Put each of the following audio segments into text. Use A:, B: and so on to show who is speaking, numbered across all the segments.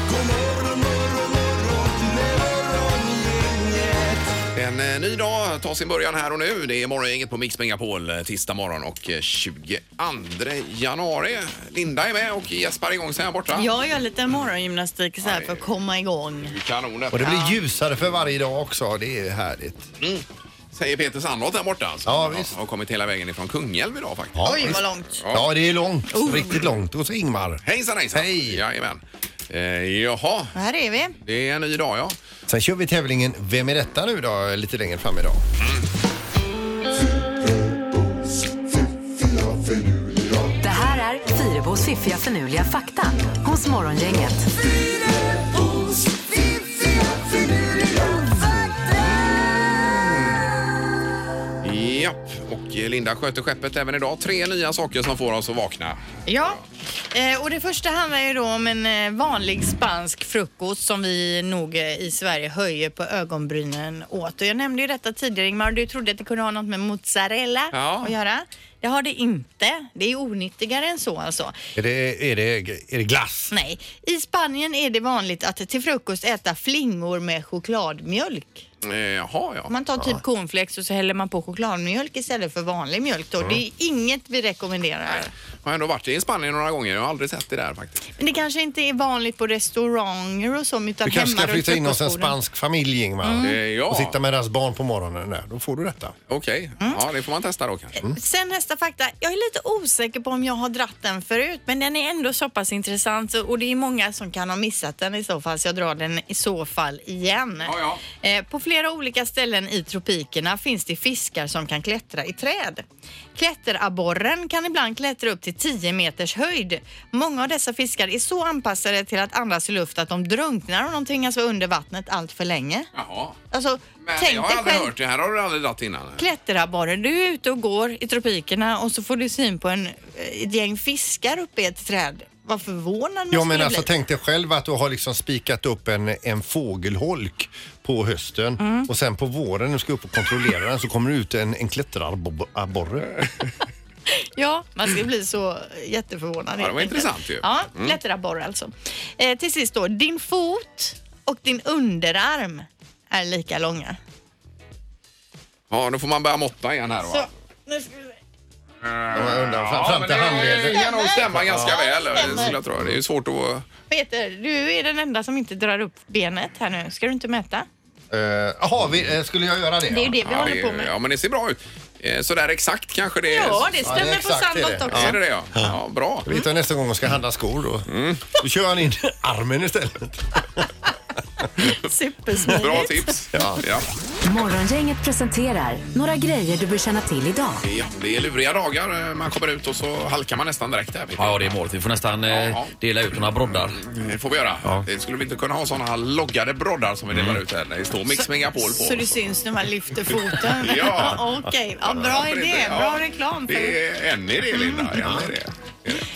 A: eh, ska ta sin början här och nu. Det är morgongänget på Mix Megapol eh, tisdag morgon och eh, 22 januari. Linda är med och Jesper är igång sen här borta.
B: Jag gör lite morgongymnastik så här
A: Ja,
B: för att komma igång.
A: Kanon detta.
C: Och det blir ljusare för varje dag också. Det är ju härligt.
A: Säger Peter Sandholt där borta. Alltså.
C: Ja, visst.
A: Har kommit hela vägen ifrån Kungälv idag faktiskt.
C: Ja,
B: Oj,
C: visst.
B: vad långt. Oh.
A: Ja.
C: Ja, det är långt. Riktigt långt. Och så Ingmar.
A: Hejsan hejsan.
C: Hej.
A: Jajamän. Eh, jaha,
B: Och här är vi.
A: det är en ny dag ja.
C: Sen kör vi tävlingen Vem är detta nu då? Lite längre fram idag.
D: Det här är Fyrabos fiffiga förnuliga fakta hos Morgongänget.
A: Japp, och eh, Linda sköter skeppet även idag. Tre nya saker som får oss att vakna.
B: Ja, eh, och det första handlar ju då om en eh, vanlig spansk frukost som vi nog eh, i Sverige höjer på ögonbrynen åt. Och jag nämnde ju detta tidigare Ingmar, och du trodde att det kunde ha något med mozzarella
A: Ja.
B: att göra. Det har det inte. Det är onyttigare än så alltså.
C: Är det, är det, är det glass?
B: Nej, i Spanien är det vanligt att till frukost äta flingor med chokladmjölk.
A: Eh, Jaha, ja.
B: Man tar typ cornflakes och så häller man på chokladmjölk istället för vanlig mjölk
C: Mm.
B: då. Det är inget vi rekommenderar.
A: Jag har ändå varit i Spanien några gånger. Jag har aldrig sett det där faktiskt.
B: Men det kanske inte är vanligt på restauranger och så utan
C: Du
B: hemma
C: kanske ska
B: runt Mm.
C: flytta in hos en
B: frukostborden.
C: spansk familj Ingmar.
A: Eh, ja.
C: Och sitta med deras barn på morgonen där. Då får du detta.
A: Okej, ja, det får man testa då kanske.
B: Sen nästa fakta. Jag är lite osäker på om jag har dratt den förut men den är ändå så pass intressant så- och det är många som kan ha missat den i så fall så jag drar den i så fall igen.
A: Ja,
B: Eh, På flera olika ställen i tropikerna finns det fiskar som kan klättra i träd. Klätterabborren kan ibland klättra upp till 10 meters höjd. Många av dessa fiskar är så anpassade till att andas i luft att de drunknar om de tvingas vara under vattnet allt för länge.
A: Jaha.
B: Alltså,
A: Men
B: tänk
A: jag har
B: dig
A: aldrig
B: själv
A: hört det här. har du aldrig dragit innan?
B: klätterabborren. Du är ute och går i tropikerna och så får du syn på en, eh, ett gäng fiskar uppe i ett träd. Vad förvånad
C: Ja
B: man
C: men
B: skulle
C: alltså
B: bli.
C: tänk dig själv att du har liksom spikat upp en, en fågelholk på hösten
B: Mm.
C: och sen på våren när du ska upp och kontrollera den så kommer det ut en, en klätterabborre.
B: Ja, man ska bli så jätteförvånad.
A: Ja, det var
B: helt enkelt.
A: intressant ju. Mm.
B: Ja, klätterabborre alltså. Eh, till sist då, din fot och din underarm är lika långa.
A: Ja, då får man börja måtta igen här
B: Så,
A: va?
B: nu ska vi se.
C: Jag undrar, fram, fram
A: men
C: till
A: det
C: handleden.
A: kan nog stämma ganska
B: Ja,
A: väl. eh,
B: det stämmer.
A: skulle Jag tro. Det är ju svårt att...
B: Peter, du är den enda som inte drar upp benet här nu. Ska du inte mäta?
C: Eh, Jaha, vi- eh, skulle jag göra det?
B: Det är ju det vi
A: Ja,
B: håller på
A: det,
B: med.
A: ja, men det ser bra ut. Eh, Sådär exakt kanske det är.
B: Ja, det
C: Ja, det
B: stämmer
C: är
B: på
C: exakt det är
B: Sandholt
C: det.
B: också.
A: Är det det ja? Ja, bra.
C: Jag vet jag nästa gång jag ska handla skor då. Då kör han in armen istället.
B: Supersmidigt.
A: Bra tips. Ja. Ja.
D: Morgongänget presenterar några grejer du bör känna till idag.
A: det är luriga dagar. eh, Man kommer ut och så halkar man nästan direkt där.
E: Ja, det är målet. Vi får nästan eh,
A: Ja.
E: dela ut några broddar.
A: Det får vi göra. Det skulle vi inte kunna ha såna här loggade broddar som vi delar ut här. Det står Mix Megapol på.
B: Så det syns när man lyfter foten?
A: Ja.
B: Okej, ja, bra
A: Varför
B: idé.
A: inte? Ja.
B: Bra reklam. Mm. För,
A: Det är en idé, Linda. En idé.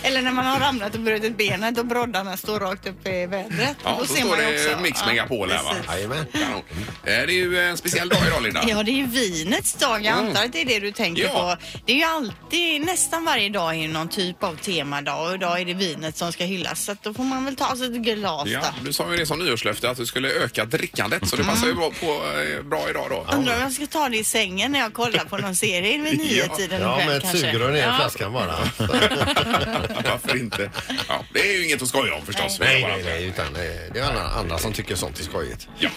B: eller när man har ramlat och brutit benet och broddarna står rakt upp i vädret.
A: Ja,
B: Då
A: så
B: ser
A: står
B: man ju
A: det
B: också.
A: Mix
B: Ja,
A: Megapol här, va?
B: precis.
C: Jajamän.
A: Kanon. Eh, Det är ju en speciell dag idag, Linda.
B: Ja, det är ju vinets dag. Jag antar att det är det du tänker
A: Mm. Ja.
B: på. Det är ju alltid, nästan varje dag är det någon typ av temadag och idag är det vinet som ska hyllas. Så att då får man väl ta sig ett glas
A: Ja,
B: då.
A: du sa ju det som nyårslöfte att du skulle öka drickandet så det passar
B: Mm.
A: ju bra, på, eh, bra idag då.
B: Undrar om jag ska ta det i sängen när jag kollar på någon serie vid niotiden
C: Ja,
B: ikväll
C: med ett
B: kanske.
C: sugrör ner i
B: Ja.
C: flaskan bara.
A: Varför inte? Ja, det är ju inget att skoja om förstås.
C: Nej, nej, nej, utan eh, det är alla andra som tycker sånt är skojigt.
A: Ja.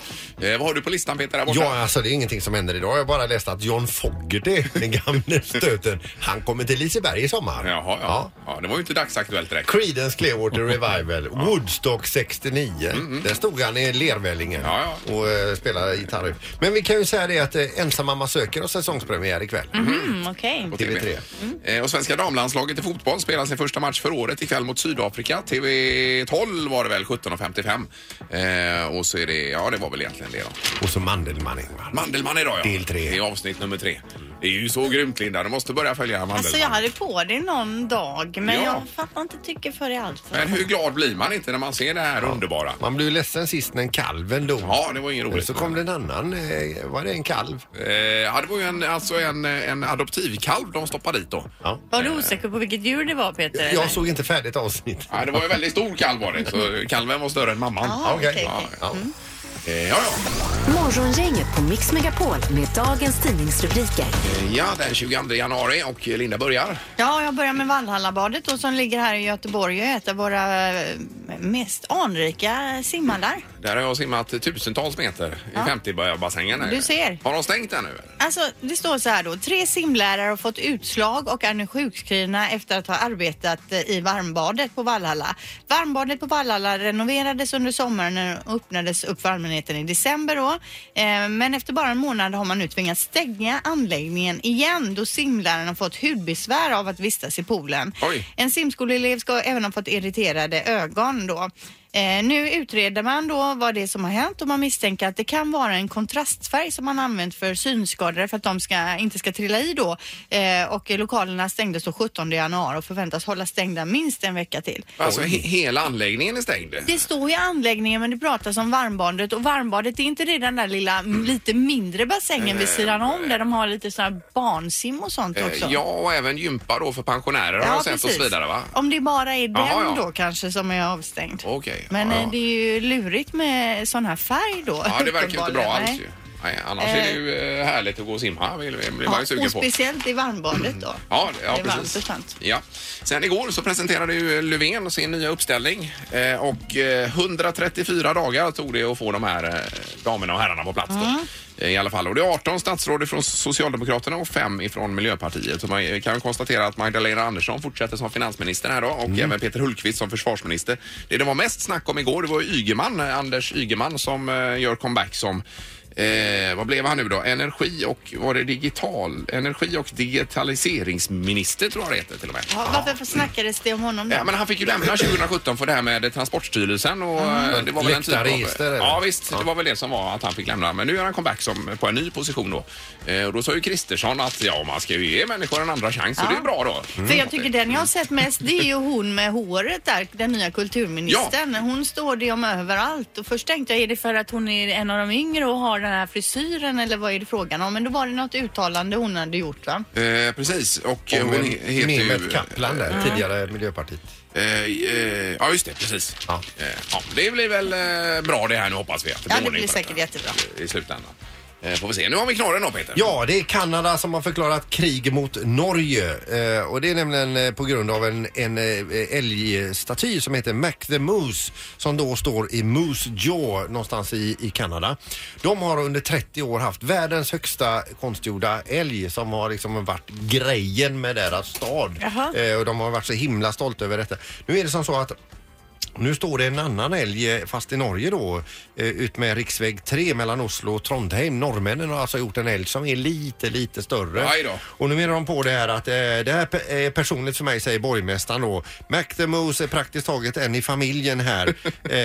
A: Eh, vad har du på listan Peter där borta?
C: Ja, alltså det är ingenting som händer idag. Jag bara läste att John Fogerty, den gamle stöten, han kommer till Liseberg i sommar.
A: Jaha, ja. ja. Det var ju inte dagsaktuellt direkt.
C: Creedence Clearwater Revival, Woodstock 69. Där stod han i lervällingen
A: Ja,
C: och eh, spelade gitarr. Men vi kan ju säga det att eh, Ensam mamma söker har säsongspremiär ikväll.
B: Mm, Okej.
A: på
C: TV3.
B: Mm.
A: Eh, Och svenska damlandslaget i fotboll spelar sin första match för året ikväll mot Sydafrika. TV12 var det väl, 17.55. Eh, och så är det, ja det var väl egentligen det då.
C: Och så Mandelmann Ingmar.
A: Mandelmann idag ja.
C: Del tre.
A: Det är avsnitt nummer tre. Det är ju så grymt Linda, du måste börja följa Mandelmann.
B: Alltså jag hade på det någon dag men
A: Ja. Eh,
B: jag fattar inte tycker för det alltså.
A: Men hur glad blir man inte när man ser det här underbara?
C: Man blev ju ledsen sist när kalven dog.
A: Ja, det var ju roligt.
C: Så kom det en annan, eh, var det en kalv?
A: Eh, ja, det var ju en, alltså en, en adoptivkalv de stoppade dit då.
C: Ja.
B: Var du osäker på vilket djur det var Peter? eller?
C: Jag såg inte färdigt avsnitt.
A: Ja, det var ju en väldigt stor kalv var det, så kalven var större än mamman.
B: Ah, okej,
C: Ja,
B: okej.
C: ja.
A: Eh, ja, ja.
D: Morgongänget på Mix Megapol med dagens tidningsrubriker.
A: Eh, ja, den 22 januari och Linda börjar.
B: Ja, jag börjar med Valhallabadet då, som ligger här i Göteborg och är ett av våra eh, mest anrika simhallar.
A: Där har jag simmat tusentals meter i 50-bassängen.
B: Du ser.
A: Har de stängt den nu? eller?
B: Alltså, det står så här då. Tre simlärare har fått utslag och är nu sjukskrivna efter att ha arbetat eh, i varmbadet på Vallhalla. Varmbadet på Vallhalla renoverades under sommaren och öppnades upp för allmänheten i december då. Eh, Men efter bara en månad har man nu tvingats stänga anläggningen igen då simlärarna fått hudbesvär av att vistas i poolen.
A: Oj.
B: En simskoleelev ska även ha fått irriterade ögon då. Eh, nu utreder man då vad det är som har hänt och man misstänker att det kan vara en kontrastfärg som man använt för synskadade för att de ska, inte ska trilla i då. Eh, och lokalerna stängdes då 17 januari och förväntas hålla stängda minst en vecka till.
A: Alltså, he hela anläggningen är stängd.
B: Det står ju anläggningen men det pratas om varmbadet och varmbadet är inte det den där lilla m, lite mindre bassängen vid sidan om där de har lite sån här barnsim och sånt
A: Eh,
B: också.
A: Ja, och även gympa då för pensionärer har jag sett och så vidare va?
B: Om det bara är den
A: Jaha, ja.
B: då kanske som är avstängd.
A: Okej,
B: Men
A: ja,
B: eh,
A: ja.
B: det är ju lurigt med sån här färg då.
A: Ja, det verkar ju inte bra
B: uppenbarligen.
A: alls
B: Nej.
A: ju. Nej, annars är det ju eh, härligt att gå och simma, vill- blir man ju
B: Ja,
A: sugen
B: och
A: på.
B: speciellt i varmbadet då.
A: Ja, det- ja
B: det är varmt och
A: precis.
B: skönt.
A: Ja. Sen igår så presenterade ju Löfven sin nya uppställning eh, och eh, 134 dagar tog det att få de här eh, damerna och herrarna på plats. Då. Eh, I alla fall. Och det är 18 statsråd från Socialdemokraterna och 5 ifrån Miljöpartiet. Så man eh, kan konstatera att Magdalena Andersson fortsätter som finansminister här då och även Peter Hultqvist som försvarsminister. Det det var mest snack om igår det var Ygeman, eh, Anders Ygeman som eh, gör comeback som Eh, vad blev han nu då? Energi och var det digital? Energi och digitaliseringsminister tror jag det heter till och med.
B: Ja, varför snackades det om honom då?
A: Ja, men han fick ju lämna 2017 för det här med Transportstyrelsen och eh, det var väl en typ
C: Läckta
A: av...
C: register, eller?
A: Ja visst, det var väl det som var att han fick lämna. Men nu gör han comeback som, på en ny position då. Eh, och då sa ju Kristersson att ja, man ska ju ge människor en andra chans och
B: Ja.
A: det är bra då.
B: För jag tycker den jag har sett mest det är ju hon med håret där, den nya kulturministern. Hon står det om överallt och först tänkte jag är det för att hon är en av de yngre och har den här frisyren eller vad är det frågan om? Men då var det något uttalande hon hade gjort va?
A: Eh, precis, och eh,
C: Om
A: hon
C: en-
A: heter ju...
C: Mehmet Kaplan där, tidigare Miljöpartiet.
A: Eh, eh, ja, just det, precis.
C: Ja.
A: Eh, ja, det blir väl eh, bra det här nu hoppas vi. Att
B: Ja, det
A: ordning
B: blir
A: på
B: säkert
A: detta
B: jättebra.
A: I slutändan. Eh, får vi se. Nu har vi knorren då Peter.
C: Ja, det är Kanada som har förklarat krig mot Norge. Eh, och det är nämligen eh, på grund av en, en eh, älgstaty som heter Mac the Moose som då står i Moose Jaw någonstans i, i Kanada. De har under 30 år haft världens högsta konstgjorda älg som har liksom varit grejen med deras stad.
B: Jaha.
C: Eh, och de har varit så himla stolta över detta. Nu är det som så att nu står det en annan älg, eh, fast i Norge då, eh, ut med riksväg 3 mellan Oslo och Trondheim. Norrmännen har alltså gjort en älg som är lite, lite större.
A: Aj då.
C: Och nu menar de på det här att eh, det här pe- är personligt för mig, säger borgmästaren då. Mac the Moose är praktiskt taget en i familjen här.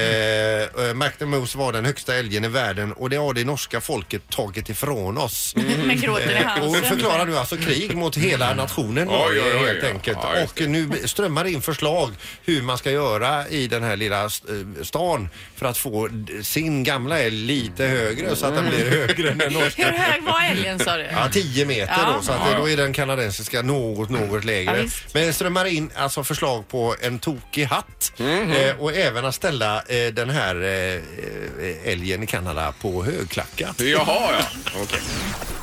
C: eh, eh, Mac the Moose var den högsta älgen i världen och det har det norska folket tagit ifrån oss.
A: Mm.
B: Med gråten i
C: Och
B: halsen.
C: förklarar nu alltså krig mot hela nationen
A: Oj,
C: Norge,
A: oj, oj,
C: helt
A: ja.
C: enkelt.
A: Ja, just
C: och nu strömmar det in förslag hur man ska göra i den här lilla eh, stan för att få d- sin gamla älg lite högre så att den blir högre än den norska.
B: Hur hög var älgen sa du?
C: Mm. Ja, 10 meter
B: Ja.
C: då, så att det- då är den kanadensiska något, något
B: Ja,
C: lägre.
B: visst.
C: Men det strömmar in alltså förslag på en tokig hatt eh, och även att ställa eh, den här eh, eh, älgen i Kanada på högklackat.
A: Jaha, ja. Okej.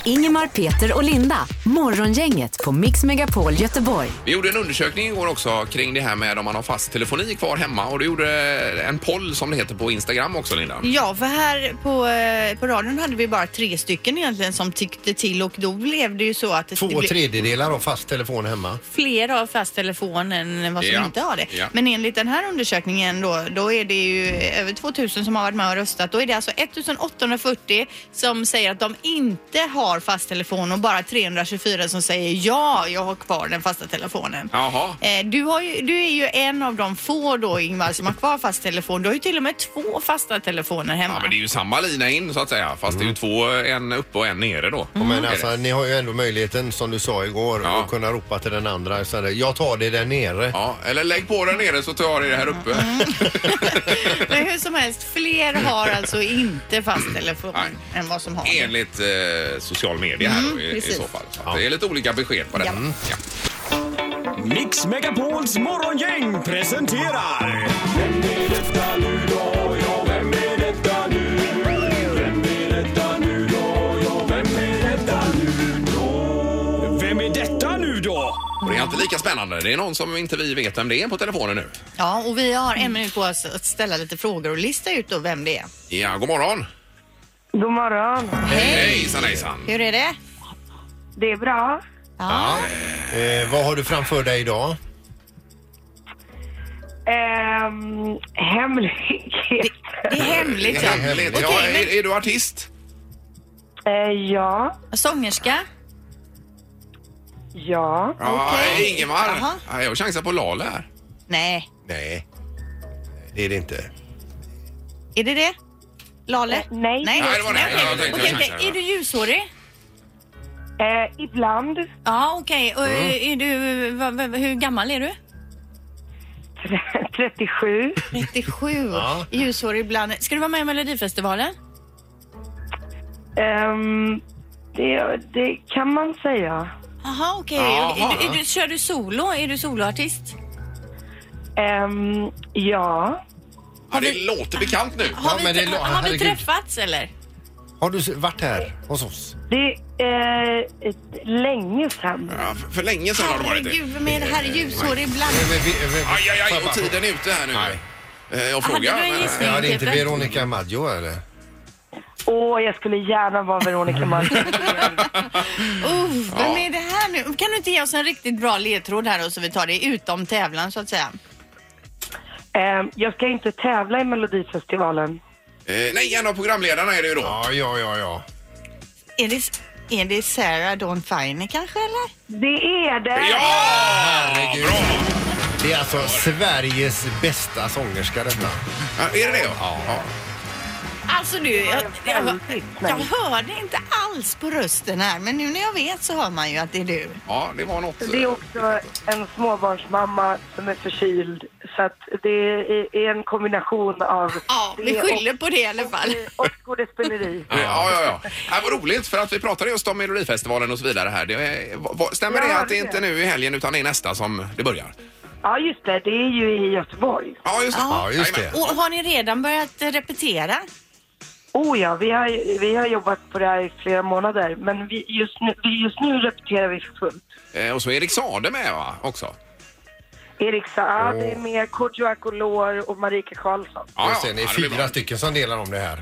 D: Ingemar, Peter och Linda. Morgongänget på Mix Megapol Göteborg.
A: Vi gjorde en undersökning igår också kring det här med om man har fast telefoni kvar hemma och det gjorde en poll som det heter på Instagram också Linda.
B: Ja, för här på, eh, på radion hade vi bara tre stycken egentligen som tyckte till och då blev det ju så att... det- det
C: Två
B: blev-
C: tredjedelar av fast telefon hemma.
B: fler har fast telefon än vad som
A: Ja.
B: inte har det.
A: Ja.
B: Men enligt den här undersökningen då, då är det ju över 2000 som har varit med och röstat. Då är det alltså 1840 som säger att de inte har fast telefon och bara 324 som säger ja, jag har kvar den fasta telefonen.
A: Jaha.
B: Eh, Du, har ju, du är ju en av de få då Ingvar som har kvar fast telefon. Du har ju till och med två fasta telefoner hemma.
A: Ja, men det är ju samma lina in så att säga fast det är ju två, en uppe och en nere då.
C: Mm. Men
B: Mm.
C: alltså, ni har ju ändå möjligheten, som du sa igår,
A: Mm. Ja.
C: att kunna ropa till den andra. Så här, jag tar det där nere.
A: Ja, eller lägg på den nere så tar jag det här uppe.
B: Mm. Men hur som helst, fler har alltså inte fast telefon
A: Nej.
B: än vad som har det.
A: Enligt eh, social media här då, i, i
B: Mm, precis.
A: så fall. Så att Det är lite olika besked på det.
B: Ja.
A: Ja.
F: Mix Megapols morgongäng presenterar Vem är detta nu då? Ja, vem är detta nu?
A: Och det är alltid lika spännande. Det är någon som inte vi vet vem det är på telefonen nu.
B: Ja, och vi har en minut på oss att ställa lite frågor och lista ut då vem det är.
A: Ja, god morgon.
G: God morgon.
A: Hejsan hejsan.
B: Hur är det?
G: Det är bra.
B: Ja.
C: Eh, vad har du framför dig idag?
G: Ehm, hemlighet.
B: Det är
A: Det
B: hemligt. Ja.
A: är hemligt.
B: Okej,
A: ja, är, är du artist?
G: Eh, ja,
B: men sångerska?
G: ja.
A: Ja,
B: Okej. Jaha.
A: Ingemar. Ja, jag chansar på Lale här.
B: Nej.
C: Nej, det är det inte.
B: Är det det? Lale?
G: Nej.
A: Nej, det var nej. Jag tänkte
B: Okej,
A: jag
B: okej.
A: chansar.
B: Är du ljushårig?
G: Eh, ibland
B: Ja, okej. Och,
A: Mm.
B: eh, Är du... va- va- va- Hur gammal är du?
G: 37.
B: 37. Ljushårig ibland. Ska du vara med i Melodifestivalen?
G: Ehm, det, det kan man säga.
B: Jaha, okej.
A: Jaha.
B: Är du- är du- Kör du solo? Är du soloartist?
G: Ehm, ja.
A: Ja, det låter bekant nu.
B: Har,
C: Ja, men
B: vi,
C: det är lo-
B: har vi
C: herregud.
B: träffats eller?
C: Har du s- varit här hos oss?
G: Det är eh, ett- länge sedan.
A: Ja, för, för länge sedan har det varit det.
B: Herregud, vem är det här? Ljusår ibland.
C: Eh, vi- vi- vi-
A: Aj, aj,
C: får jag
A: aj,
C: bara-
A: och tiden är ute här nu.
C: Nej.
A: Eh, Jag
B: Hade du
A: frågar.
B: en gissning?
C: Ja, det är inte
B: Peter.
C: Veronica Maggio eller?
G: Åh, jag skulle gärna vara Veronica Maggio.
C: Mm.
B: Uff, vem är det här nu? Kan du inte ge oss en riktigt bra ledtråd här då så vi tar det utom tävlan så att säga?
G: Ehm, jag ska inte tävla i Melodifestivalen.
A: Eh, Nej, en av programledarna är det ju då.
C: Ja, ja, ja, ja.
B: Är det, är det Sarah Dawn Finer kanske eller?
G: Det är det!
A: Ja!
C: Herregud.
A: Bra!
C: Det är alltså Sveriges bästa sångerska detta.
A: Ja, Är det det? Ja.
B: Alltså du, jag, jag,
G: väldigt snäll.
B: jag hörde inte alls på rösten här men nu när jag vet så hör man ju att det är du.
A: Ja, det var något.
G: Det är också en småbarnsmamma som är förkyld. Så att det är- är en kombination av...
B: Ja, vi
G: det och-
B: skyller på det i alla fall.
G: Och skådespeleri.
A: Ja, ja, ja. ja. Vad roligt, för att vi pratade just om Melodifestivalen och så vidare här. Det är, vad- vad- stämmer
G: Ja,
A: det att det
G: det
A: inte är nu i helgen utan det är nästa som det börjar?
G: Ja, just det. Det är ju i Göteborg.
A: Ja, just det.
C: Ja, just det.
A: Jajamän.
B: Och har ni redan börjat eh, repetera?
G: Oh ja, vi har, vi har jobbat på det här i flera månader. Men vi, just, nu, vi, just nu repeterar vi för fullt.
A: Eh, Och så är Erik Saade med va? också.
G: Erik Saade är med, Kodjo Akolor och Marika Karlsson.
A: Ja,
C: Just det, det är
A: blir bra.
C: fyra stycken som delar om det här.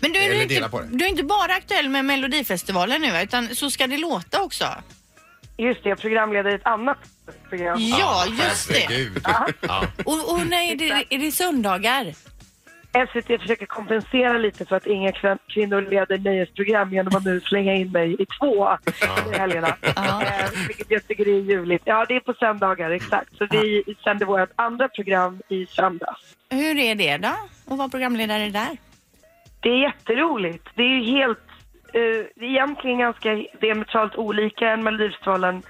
B: Men du är,
C: Eller
B: du
C: dela
B: inte,
C: på det.
B: du är inte bara aktuell med Melodifestivalen nu utan så ska det låta också.
G: Just det, jag programleder ett annat program.
B: Ja, just det.
C: Herregud.
B: Och, och nej, det, är det söndagar?
G: SVT försöker kompensera lite för att inga kvin- kvinnor leder nöjesprogram genom att nu slänga in mig i två i helgerna.
B: Ja.
G: Eh, Vilket jag tycker är ljuvligt. Ja, det är på söndagar, exakt. Så vi sänder vårt andra program i söndags.
B: Hur är det då? Och vara programledare där?
G: Det är jätteroligt. Det är ju helt... eh, det är egentligen ganska diametralt olika än Melodifestivalen.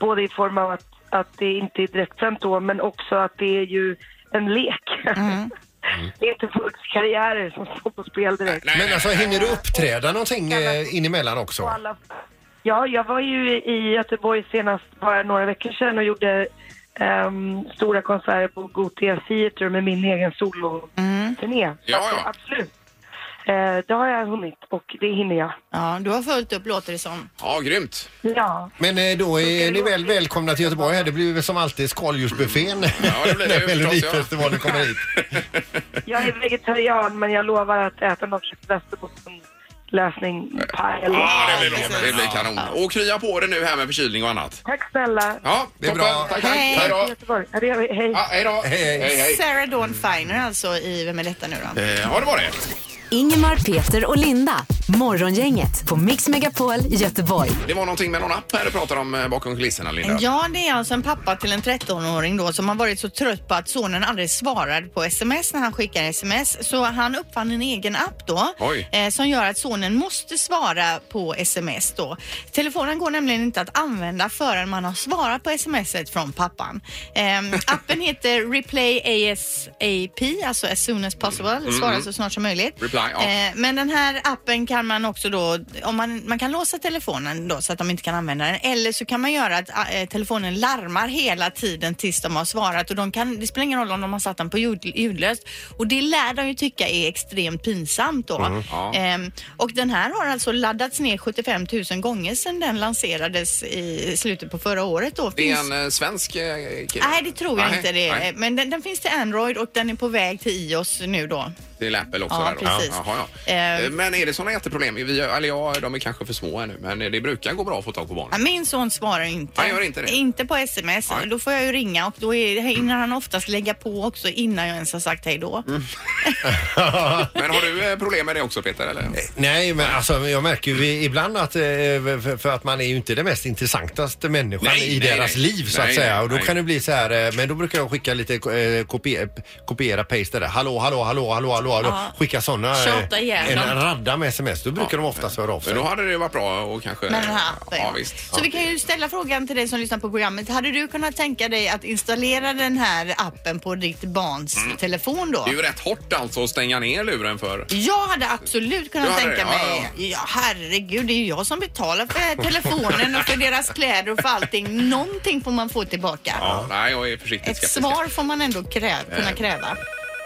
G: Både i form av att, att det inte är direktsänt då, men också att det är ju en lek. det är inte folks karriärer som står på spel direkt.
A: Nej,
C: Men
A: nej,
C: alltså hinner du uppträda någonting eh, in emellan också?
G: Och alla... Ja, jag var ju i Göteborg senast bara några veckor sedan och gjorde ehm, stora konserter på Gothia Theatre med min egen soloturné.
A: Mm. Ja,
G: Så
A: ja.
G: Absolut. Eh, det har jag hunnit och det hinner jag.
B: Ja, du har följt upp låter det som.
A: ja, grymt.
G: Ja.
C: Men eh, då är ni väl välkomna till Göteborg här. Det blir väl som alltid skaldjursbuffén
A: det blir det
C: när
A: ju förstås,
C: Melodifestivalen kommer hit.
G: Jag är vegetarian men jag lovar att äta någon slags västerbottenlösning. Paj eller-
A: Ja, det blir bra. Det blir kanon. Och krya på det nu här med förkylning och annat.
G: Tack snälla.
A: Ja,
C: Det är
A: toppen.
C: bra.
A: Tack, tack.
B: Hej.
A: Hej då.
G: Göteborg. Ja, det gör vi. Hej.
A: Ja, hej då.
C: Hej, hej.
B: Sarah Dawn Finer alltså i Vem är detta nu då?
A: Eh, Ja, det var det.
D: Ingemar, Peter och Linda. Morgongänget på Mix Megapol Göteborg.
A: Det var någonting med någon app här du pratade om eh, bakom kulisserna, Linda.
B: Ja, det är alltså en pappa till en 13-åring då som har varit så trött på att sonen aldrig svarade på sms när han skickar sms. Så han uppfann en egen app då
A: Oj.
B: eh, som gör att sonen måste svara på sms då. Telefonen går nämligen inte att använda förrän man har svarat på smset från pappan. Ehm, appen heter Replay ASAP, alltså as soon as possible, svara så snart som möjligt.
A: Mm-hmm. Reply Nej, ja.
B: Eh, Men den här appen kan man också då, om man, man kan låsa telefonen då så att de inte kan använda den. Eller så kan man göra att eh, telefonen larmar hela tiden tills de har svarat och de kan, det spelar ingen roll om de har satt den på ljud, ljudlöst. Och det lär de ju tycka är extremt pinsamt då.
A: ja.
B: Ehm, och den här har alltså laddats ner 75 000 gånger sedan den lanserades i slutet på förra året då.
A: Det är
B: Finns-
A: en eh, svensk eh, kille?
B: Nej, det tror jag
A: Nej,
B: inte det är.
A: nej.
B: Men den, den finns till Android och den är på väg till iOS nu då.
A: Det är Läppel också
B: Ja,
A: där då.
B: precis.
A: Jaha, ja.
B: Eh,
A: Eh, Men är det sådana jätteproblem? Vi, eller ja, de är kanske för små ännu, men det brukar gå bra att få tag på barnen.
B: Ja, Min son svarar inte.
A: Han gör inte det?
B: Inte på sms.
A: Nej.
B: Då får jag ju ringa och då är, hinner han oftast lägga på också innan jag ens har sagt hej då.
A: Mm. Men har du eh, problem med det också Peter? Eller?
C: Nej, men alltså, jag märker ju ibland att eh, för, för att man är ju inte den mest intressantaste människan
A: Nej,
C: i
A: nej,
C: deras
A: nej.
C: liv så att
A: Nej,
C: säga.
A: nej,
C: och då
A: nej.
C: kan det bli så här, eh, men då brukar jag skicka lite eh, kopie, kopiera, paste där. Hallå, hallå, hallå, hallå, hallå. hallå.
B: Ja.
C: Skicka sådana,
B: Tjata ihjäl
C: en
B: dem.
C: radda med sms. Då brukar de oftast höra av sig.
A: Men då hade det ju varit bra och kanske...
B: Med den här appen.
A: ja, visst.
B: Så vi kan ju ställa frågan till dig som lyssnar på programmet. Hade du kunnat tänka dig att installera den här appen på ditt barns telefon då?
A: Det är Mm. ju rätt hårt alltså att stänga ner luren för...
B: Jag hade absolut kunnat
A: Du hade
B: tänka
A: det, ja,
B: mig, ja, herregud det är ju jag som betalar för telefonen och för deras kläder och för allting. Någonting får man få tillbaka.
A: Ja, nej, jag Eh. är försiktigt
B: Ett
A: skeptisk.
B: svar får man ändå krä- kunna kräva.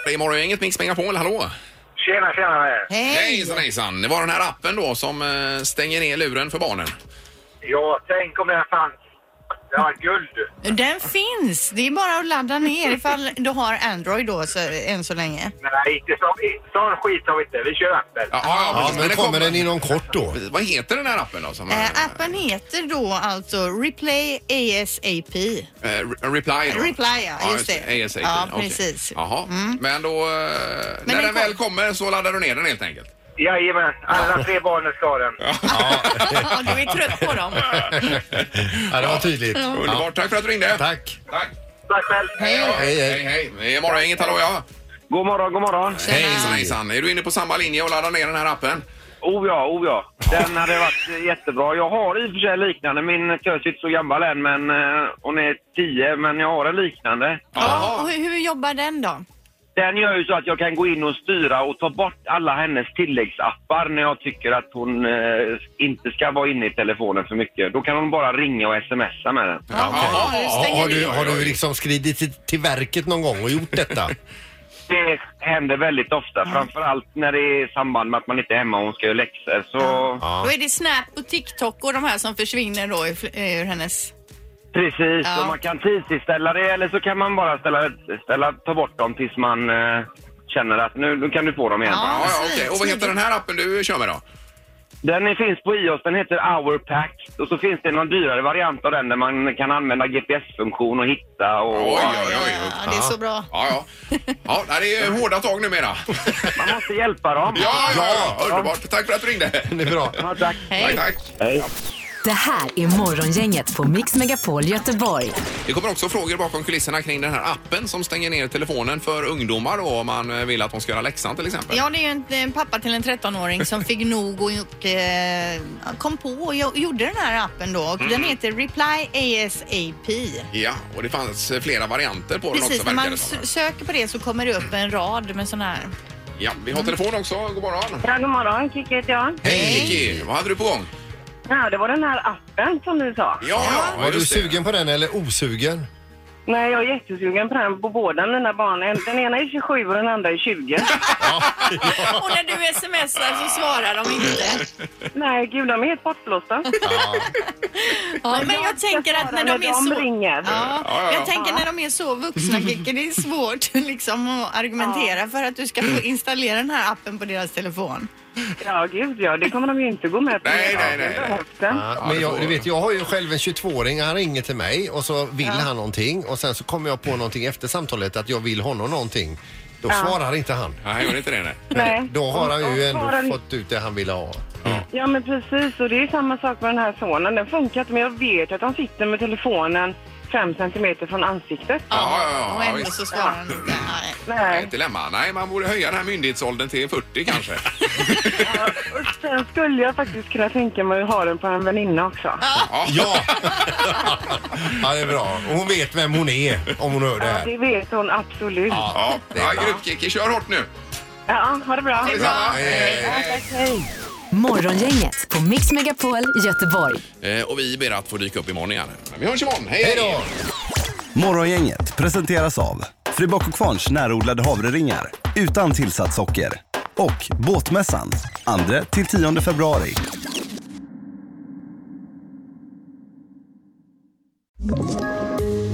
A: Det är morgongänget Mix Megapol, hallå!
G: Tjena, tjena med er.
B: Hej!
A: Hejsan hejsan! Det var den här appen då som eh, stänger ner luren för barnen.
G: Ja, tänk om det här fanns. Det var guld.
B: Den finns! Det är bara att ladda ner ifall du har Android då så, än så länge.
G: Nej, inte så, inte sån skit har vi inte. Vi kör appen.
A: Ja, ja,
C: Ja,
A: precis.
C: men då kommer den inom kort då.
A: Vad heter den här appen då? Som,
B: Eh, appen heter då alltså Replay ASAP.
A: Eh, re- reply då?
B: Reply, ja, just det.
A: ASAP,
B: Ja,
A: okej.
B: precis. Mm.
A: Jaha, men då... eh, när
B: den
A: den väl
B: kom-
A: kommer så laddar du ner den helt enkelt?
G: Jajamän, alla tre barnen ska ha den.
B: Ja, du är trött på dem.
C: Ja, det var tydligt.
A: Underbart, tack för att du ringde.
C: Tack.
A: Tack.
G: Tack själv.
A: Ja,
C: Hej, hej.
A: hej, hej. Det är morgongänget, hallå ja.
G: God morgon, god morgon.
A: Hejsan, hejsan. Är du inne på samma linje och laddar ner den här appen?
G: Oh ja, oh ja. Den hade varit eh, jättebra. Jag har i och för sig liknande. Min tös är inte så gammal än, men eh, hon är tio. Men jag har en liknande.
B: Ja, och hur, hur jobbar den då?
G: Den gör ju så att jag kan gå in och styra och ta bort alla hennes tilläggsappar när jag tycker att hon eh, inte ska vara inne i telefonen för mycket. Då kan hon bara ringa och smsa med den.
B: Ja,
A: okej.
B: ja, du
C: Ja, har,
B: stänger
C: du,
B: ner.
C: har du liksom skridit till, till verket någon gång och gjort detta?
G: Det händer väldigt ofta, framförallt när det är i samband med att man inte är hemma och hon ska göra läxor. Så
B: Då är det Snap och TikTok och de här som försvinner då ifl- eh, ur hennes...
G: precis,
B: Ja.
G: och man kan tidsinställa det eller så kan man bara ställa, ställa, ta bort dem tills man eh, känner att nu, nu kan du få dem igen.
B: Ja.
A: Ja, ja, okej.
B: smidigt,
A: Och vad heter
B: smidigt.
A: den här appen du kör med då?
G: Den är- finns på iOS, den heter Hour Pack. Och så finns det någon dyrare variant av den där man kan använda GPS-funktion och hitta och...
A: Oj, oj, oj. oj.
B: Ja, det är så bra.
A: Ja, ja. ja nej, det är hårda tag numera. Ja,
G: Man måste hjälpa dem.
A: ja, ja. Underbart. Tack för att du ringde.
C: Det är bra.
G: Ja, tack.
A: Tack, tack.
G: Hej.
D: Det här är Morgongänget på Mix Megapol Göteborg.
A: Det kommer också frågor bakom kulisserna kring den här appen som stänger ner telefonen för ungdomar då, om man eh, vill att de ska göra läxan till exempel.
B: Ja, det är ju en, en pappa till en 13-åring som fick nog och, eh, kom på och jo- gjorde den här appen då. Och
A: Mm.
B: Den heter Reply ASAP.
A: Ja, och det fanns eh, flera varianter på den
B: Precis,
A: också
B: när man
A: verkar det som.
B: sö- söker på det så kommer det upp en rad med sådana här.
A: Ja, vi
B: Mm.
A: har telefon också. God morgon.
H: Ja, god morgon. Kikki heter jag.
A: Hej Kiki! Vad hade du på gång?
H: Ja, det var den här appen som du sa.
A: Ja, ja,
C: Var du
A: just det.
C: sugen på den eller osugen?
H: Nej, jag är jättesugen på den på båda mina barn. Den ena är 27 och den andra är 20.
B: Och när du smsar så svarar de inte.
H: Nej, gud, de är helt bortblåsta.
B: Ja, men jag tänker att när de är
H: de
B: så...
H: ringer.
B: Ja,
A: ja, Mm. ja.
B: jag tänker när de är så vuxna, Kikki, det är svårt liksom att argumentera för att du ska få installera den här appen på deras telefon.
H: Ja, gud, ja. Det kommer de ju inte gå med på.
A: Nej, nej, nej, nej.
H: nej.
C: Ja,
A: det
C: men jag,
A: får
C: du
A: du.
C: vet, jag har ju själv en 22-åring, han ringer till mig och så vill han någonting och sen så kommer jag på någonting efter samtalet att jag vill honom någonting. Då svarar inte han.
A: Nej, gör inte det. Nej.
H: Nej.
C: Då har han ju
H: Och
C: ändå
H: svarar-
C: fått ut det han ville ha.
H: Ja, men precis. Och det är samma sak med den här sonen. Den funkar inte, men jag vet att de sitter med telefonen fem centimeter från ansiktet.
A: Ja, ja, ja,
B: Och
A: ja,
B: ändå
A: visst.
B: så svarar han inte. Nej.
A: Nej,
H: Nej.
A: Ett dilemma. Nej, man borde höja den här myndighetsåldern till 40 kanske.
H: Och sen skulle jag faktiskt kunna tänka mig att ha den på en väninna också.
C: Ja! ja, det är bra. Och hon vet vem hon är om hon hör det
H: Ja,
C: här.
H: det vet hon absolut.
A: Ja, det är grymt Kiki. Kör hårt nu.
I: Ja, ha det bra.
A: Detsamma.
G: Morgongänget på Mix Megapol Göteborg.
A: Eh, Och vi ber att få dyka upp imorgon igen. Men vi hörs imorgon. Hej då!
J: Morgongänget presenteras av Fribock och Kvarns närodlade havreringar utan tillsatt socker och Båtmässan 2 till 10 februari.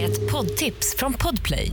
D: Ett poddtips från Podplay.